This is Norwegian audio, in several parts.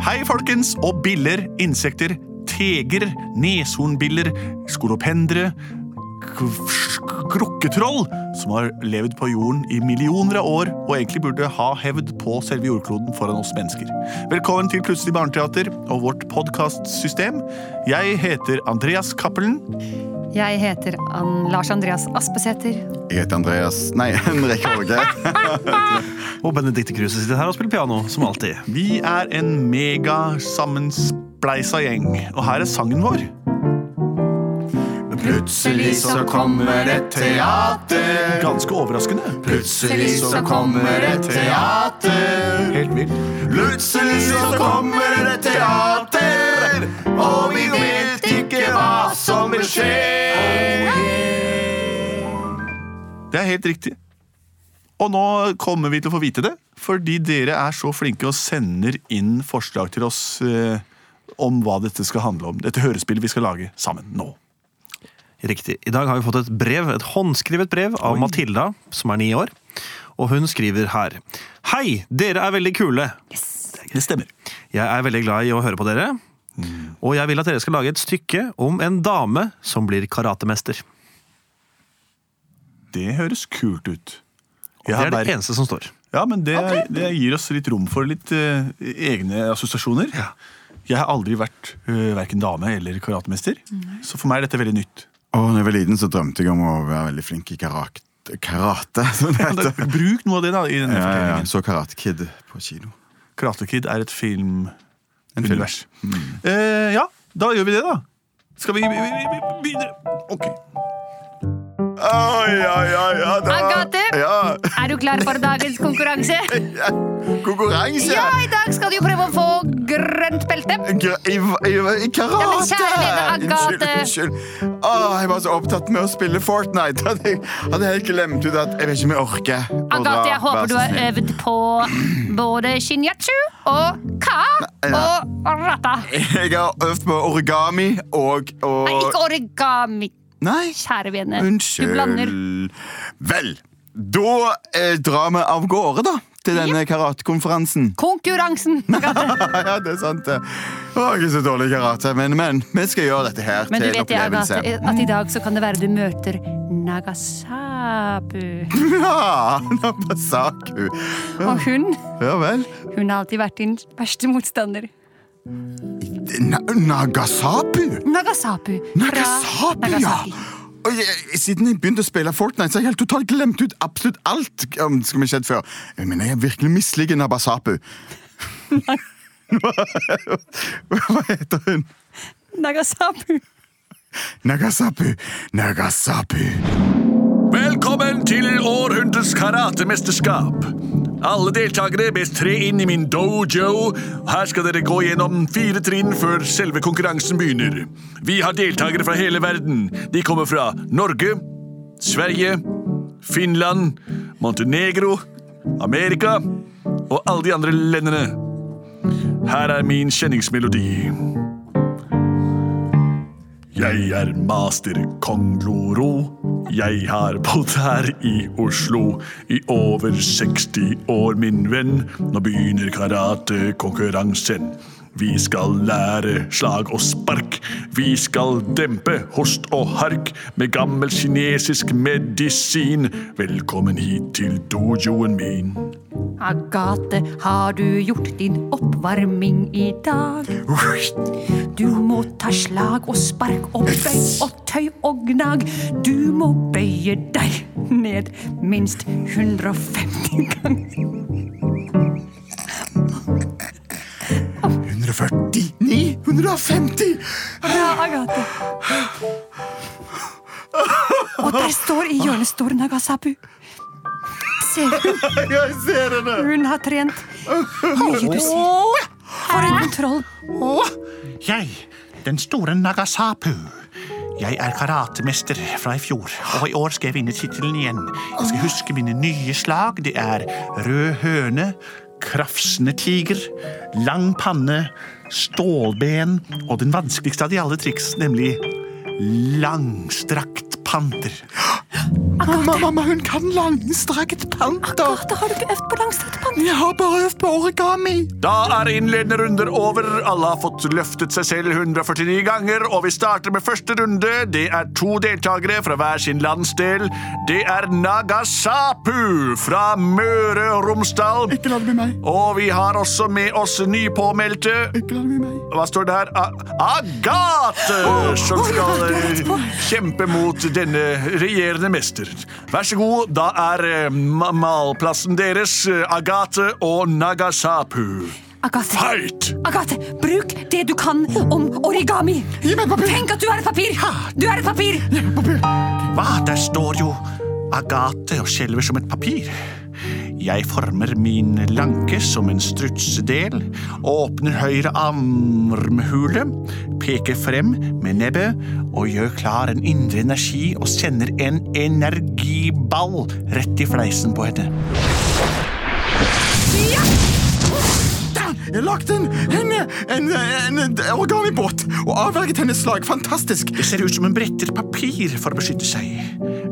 Hei, folkens, og biller, insekter, teger, neshornbiller, skolopendre, krukketroll, som har levd på jorden i millioner av år og egentlig burde ha hevd på selve jordkloden foran oss mennesker. Velkommen til Plutselig barneteater og vårt podkastsystem. Jeg heter Andreas Cappelen. Jeg heter Ann Lars Andreas Aspesæter. Jeg heter Andreas Nei, Henrik Håge. Og Benedicte Kruse sitter her og spiller piano, som alltid. Vi er en mega sammenspleisa gjeng, og her er sangen vår. Plutselig så kommer et teater. Ganske overraskende. Plutselig så kommer et teater. Helt vilt. Plutselig så kommer et teater. Og vi vet ikke hva som vil skje. Det er helt riktig. Og nå kommer vi til å få vite det, fordi dere er så flinke og sender inn forslag til oss eh, om hva dette skal handle om. Dette hørespillet vi skal lage sammen nå. Riktig. I dag har vi fått et brev, et håndskrevet brev av Matilda, som er ni år. Og hun skriver her. Hei, dere er veldig kule. Det stemmer. Jeg er veldig glad i å høre på dere. Og jeg vil at dere skal lage et stykke om en dame som blir karatemester. Det høres kult ut. Det Jeg har er det bare- eneste som står. Ja, men det, det gir oss litt rom for litt eh, egne assosiasjoner. Ja. Jeg har aldri vært uh, verken dame eller karatemester, så for meg er dette veldig nytt. Og når jeg var liten, så drømte jeg om å være veldig flink i karak- karate. som det Da, heter. Altså, bruk noe av det da, i denne Ja, ja, ja. fortellingen. Så Karate Kid på kino. Karate Kid er et filmunivers. En film. Mm. Eh, ja, da gjør vi det, da. Skal vi vi- vi- vi- begynne? Ok. Oi, oi, oi, ja, da. Agathe! Ja, Er du klar for dagens konkurranse? konkurranse! Ja, i dag skal du jo prøve å få grønt belte. Gr- I, i, I karate! Ja, men kjære vene, Agathe. Unnskyld. unnskyld. Åh, jeg var så opptatt med å spille Fortnite at jeg hadde helt glemt ut at jeg vet ikke om jeg orker. å dra. Agathe, jeg håper Vær så du har snill. øvd på både shinyachu og ka og rata. Jeg har øvd på origami og, Nei, og... ikke origami, Nei, kjære vene. Du blander. unnskyld. Vel, da eh, drar vi av gårde, da. Til denne karatekonferansen. Konkurransen! Agathe. ja, det er sant, det. Å, ikke så dårlig i karate, men, men vi skal gjøre dette her Men du til en vet det, opplevelse. Agathe, at i dag så kan det være du møter Nagasabu. Ja, Nabasaku. Og hun, Ja vel. hun har alltid vært din verste motstander. Na Nagasabu? Nagasabu. fra Nagasabu, ja! Nagasaki. Og jeg, siden jeg begynte å spille Fortnite, så har jeg helt totalt glemt ut absolutt alt. um, som har skjedd før. Jeg mener, jeg virkelig misliker Nabasapu. Hva hva heter hun? Nagasabu. Nagasapu. Nagasapu. Velkommen til århundrets karatemesterskap. Alle deltakere bes tre inn i min dojo. Her skal dere gå gjennom fire trinn før selve konkurransen begynner. Vi har deltakere fra hele verden. De kommer fra Norge, Sverige, Finland, Montenegro, Amerika og alle de andre landene. Her er min kjenningsmelodi. Jeg er master kong Loro. Jeg har bodd her i Oslo i over 60 år, min venn. Nå begynner karatekonkurransen. Vi skal lære slag og spark. Vi skal dempe host og hark med gammel kinesisk medisin. Velkommen hit til dojoen min. Agathe, har du gjort din oppvarming i dag? Du må ta slag og spark og bøy og tøy og gnag. Du må bøye deg ned minst 150 ganger. 149? 150? Bra, Agathe. Og der står i hjørnet står Nagasabu. Se, hun, Jeg ser henne! hun har trent mye, du ser. For en kontroll. Jeg, den store Nagasapu. Jeg er karatemester fra i fjor, og i år skal jeg vinne tittelen igjen. Jeg skal huske mine nye slag. Det er rød høne, krafsende tiger, lang panne, stålben og den vanskeligste av de alle triks, nemlig langstrakt panter. Agathe, Mamma, hun kan langstrakt panter. Agathe, har du ikke øvd på langstrakt pann? Jeg har bare øvd på origami. Da er innledende runder over. Alle har fått løftet seg selv 149 ganger, og vi starter med første runde. Det er to deltakere fra hver sin landsdel. Det er Nagasapu fra Møre og Romsdal. Ikke la det bli meg. Og vi har også med oss nypåmeldte Ikke la det bli meg. Hva står det her? A Agathe! Som å, ja, skal du eh, vet hva. kjempe mot denne regjerende mester. Vær så god, da er eh, ma- malplassen deres eh, Agathe og Nagasapu. Agathe, Fight! Agathe, bruk det du kan om origami. Gi meg papir. Tenk at du er et papir! Du er et papir! Hva? Der står jo Agathe og skjelver som et papir. Jeg former min lanke som en strutsedel, åpner høyre armhule, peker frem med nebbet og gjør klar en indre energi og sender en energiball rett i fleisen på henne. Jeg lagde en, en, en, en, en origami-båt og avverget hennes slag. Fantastisk. Det ser ut som hun bretter papir for å beskytte seg.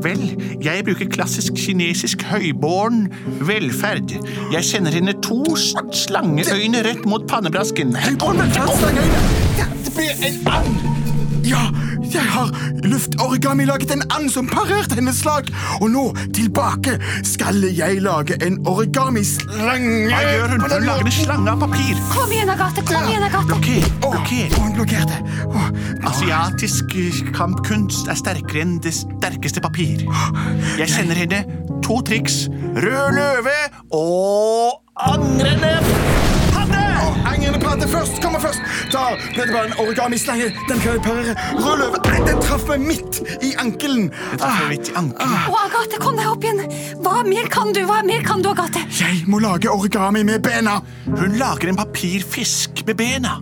Vel, jeg bruker klassisk kinesisk høyborn velferd. Jeg sender henne to s- slangeøyne rett mot pannebrasken. Å, men fastlangeøyne! Det blir en and! Ja, jeg har luftorigami laget en and som parerte hennes slag. Og nå, tilbake, skal jeg lage en origamislange. Hva gjør hun? på Hun den lager en måten. slange av papir. Kom igjen, Agathe! Kom igjen, Agathe! Blokker, Å, blokker. og hun blokkerte. Å, Altså, Asiatisk eh, kampkunst er sterkere enn det sterkeste papir. Jeg sender henne to triks. Rød løve og angrende padde! Engrende padde først, kommer først. Da ble det bare en origamislange. Den kan jeg parere. Rød løve, Nei, den traff meg midt i ankelen. Traff jeg litt i ankelen? Å, Agathe, kom deg opp igjen! Hva mer kan du? Hva mer kan du, Agathe? Jeg må lage origami med bena. Hun lager en papirfisk med bena.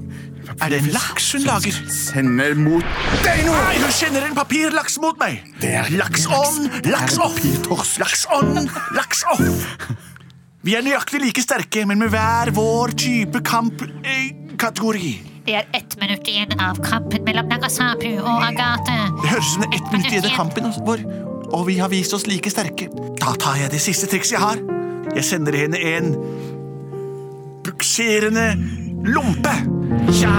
Er det en laks hun lager? Sender mot deg nå. Nei, hun kjenner en papirlaks mot meg! Det er ikke Laks laks. on, Det er laks off! papirtorsk. Laks on, laks off! Vi er nøyaktig like sterke, men med hver vår type eh, kampkategori. Det er ett minutt igjen av kampen mellom Nagasapu og Agathe. Det høres ut som det er ett minutt igjen av kampen vår, og vi har vist oss like sterke. Da tar jeg det siste trikset jeg har. Jeg sender henne en bukserende lompe. Tja!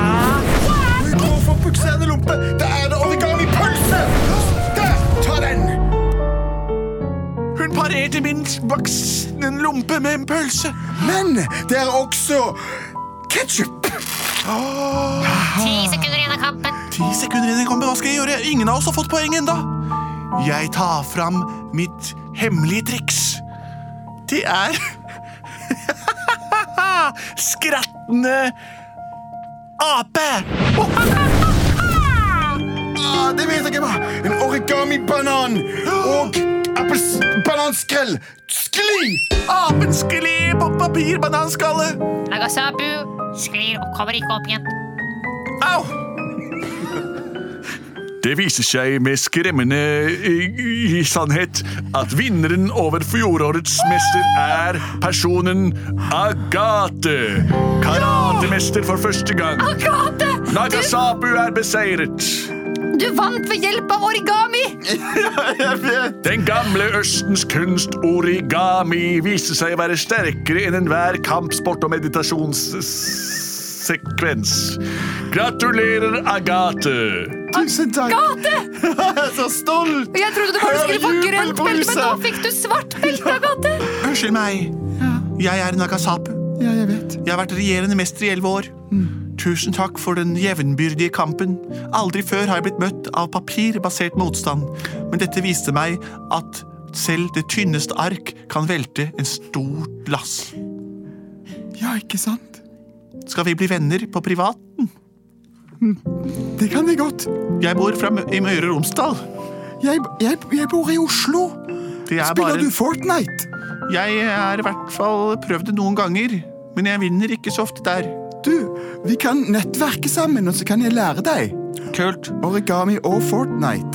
Vi går for bukserende lompe. Da er det origami-pølse! Der! Ta den! Hun parerte min voksne lompe med en pølse. Men det er også ketsjup. Ti sekunder igjen av kampen. Ti sekunder inn i kampen, hva skal jeg gjøre? Ingen av oss har fått poeng ennå. Jeg tar fram mitt hemmelige triks. Det er Skrattende ape! Ah, det vet jeg hva. En origami-banan og appels- bananskrell. Skli! Apen skli på papirbananskalle. Nagasapu sklir og kommer ikke opp igjen. Au! Det viser seg med skremmende eh, sannhet at vinneren over fjorårets mester er personen Agathe. Karatemester for første gang. Agathe! Nagasapu er beseiret. Du vant ved hjelp av origami! Jeg vet. Den gamle Østens kunst origami viste seg å være sterkere enn enhver kampsport og meditasjonssekvens. Gratulerer, Agathe. Tusen takk. Agathe! Jeg er så stolt. Jeg trodde du bare Hør skulle få grønt belte, men nå jubelbruset. fikk du svart belte, Agathe! Unnskyld meg. Jeg er Nagasapu. Ja, jeg vet. Jeg har vært regjerende mester i elleve år. Mm. Tusen takk for den jevnbyrdige kampen. Aldri før har jeg blitt møtt av papirbasert motstand, men dette viste meg at selv det tynneste ark kan velte en stort lass. Ja, ikke sant? Skal vi bli venner på privat? Det kan vi godt. Jeg bor fra Mø i Møre og Romsdal. Jeg, jeg, jeg bor i Oslo. Det er Spiller bare du Fortnite? Jeg er i hvert fall prøvd det noen ganger, men jeg vinner ikke så ofte der. Du, vi kan nettverke sammen, og så kan jeg lære deg. Kult. Origami og Fortnite.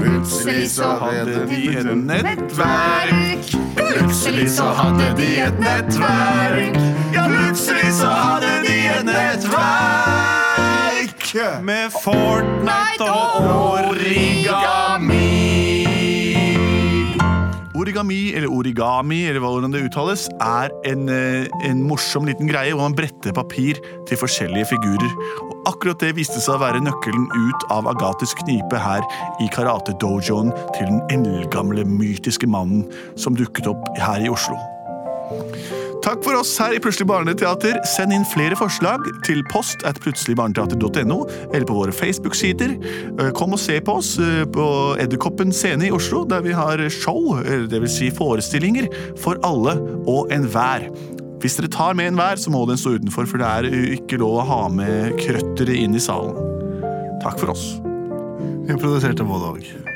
Plutselig så hadde de et nettverk. Plutselig så hadde de et nettverk. Ja, plutselig så hadde de et nettverk. Med Fortnite og Origami. origami, eller origami, eller hvordan det uttales, er en, eh, en morsom liten greie hvor man bretter papir til forskjellige figurer. Og akkurat det viste seg å være nøkkelen ut av Agathes knipe her i karate-dojoen til den eldgamle, mytiske mannen som dukket opp her i Oslo. Takk for oss her i Plutselig barneteater. Send inn flere forslag til post at plutseligbarneteater.no eller på våre Facebook-sider. Eh, Kom og se på oss eh, på Edderkoppen scene i Oslo, der vi har show, eh, det vil Si forestillinger, for alle og enhver. Hvis dere tar med enhver, så må den stå utenfor, for det er eh, ikke lov å ha med krøttere inn i salen. Takk for oss. Vi har produsert en både og.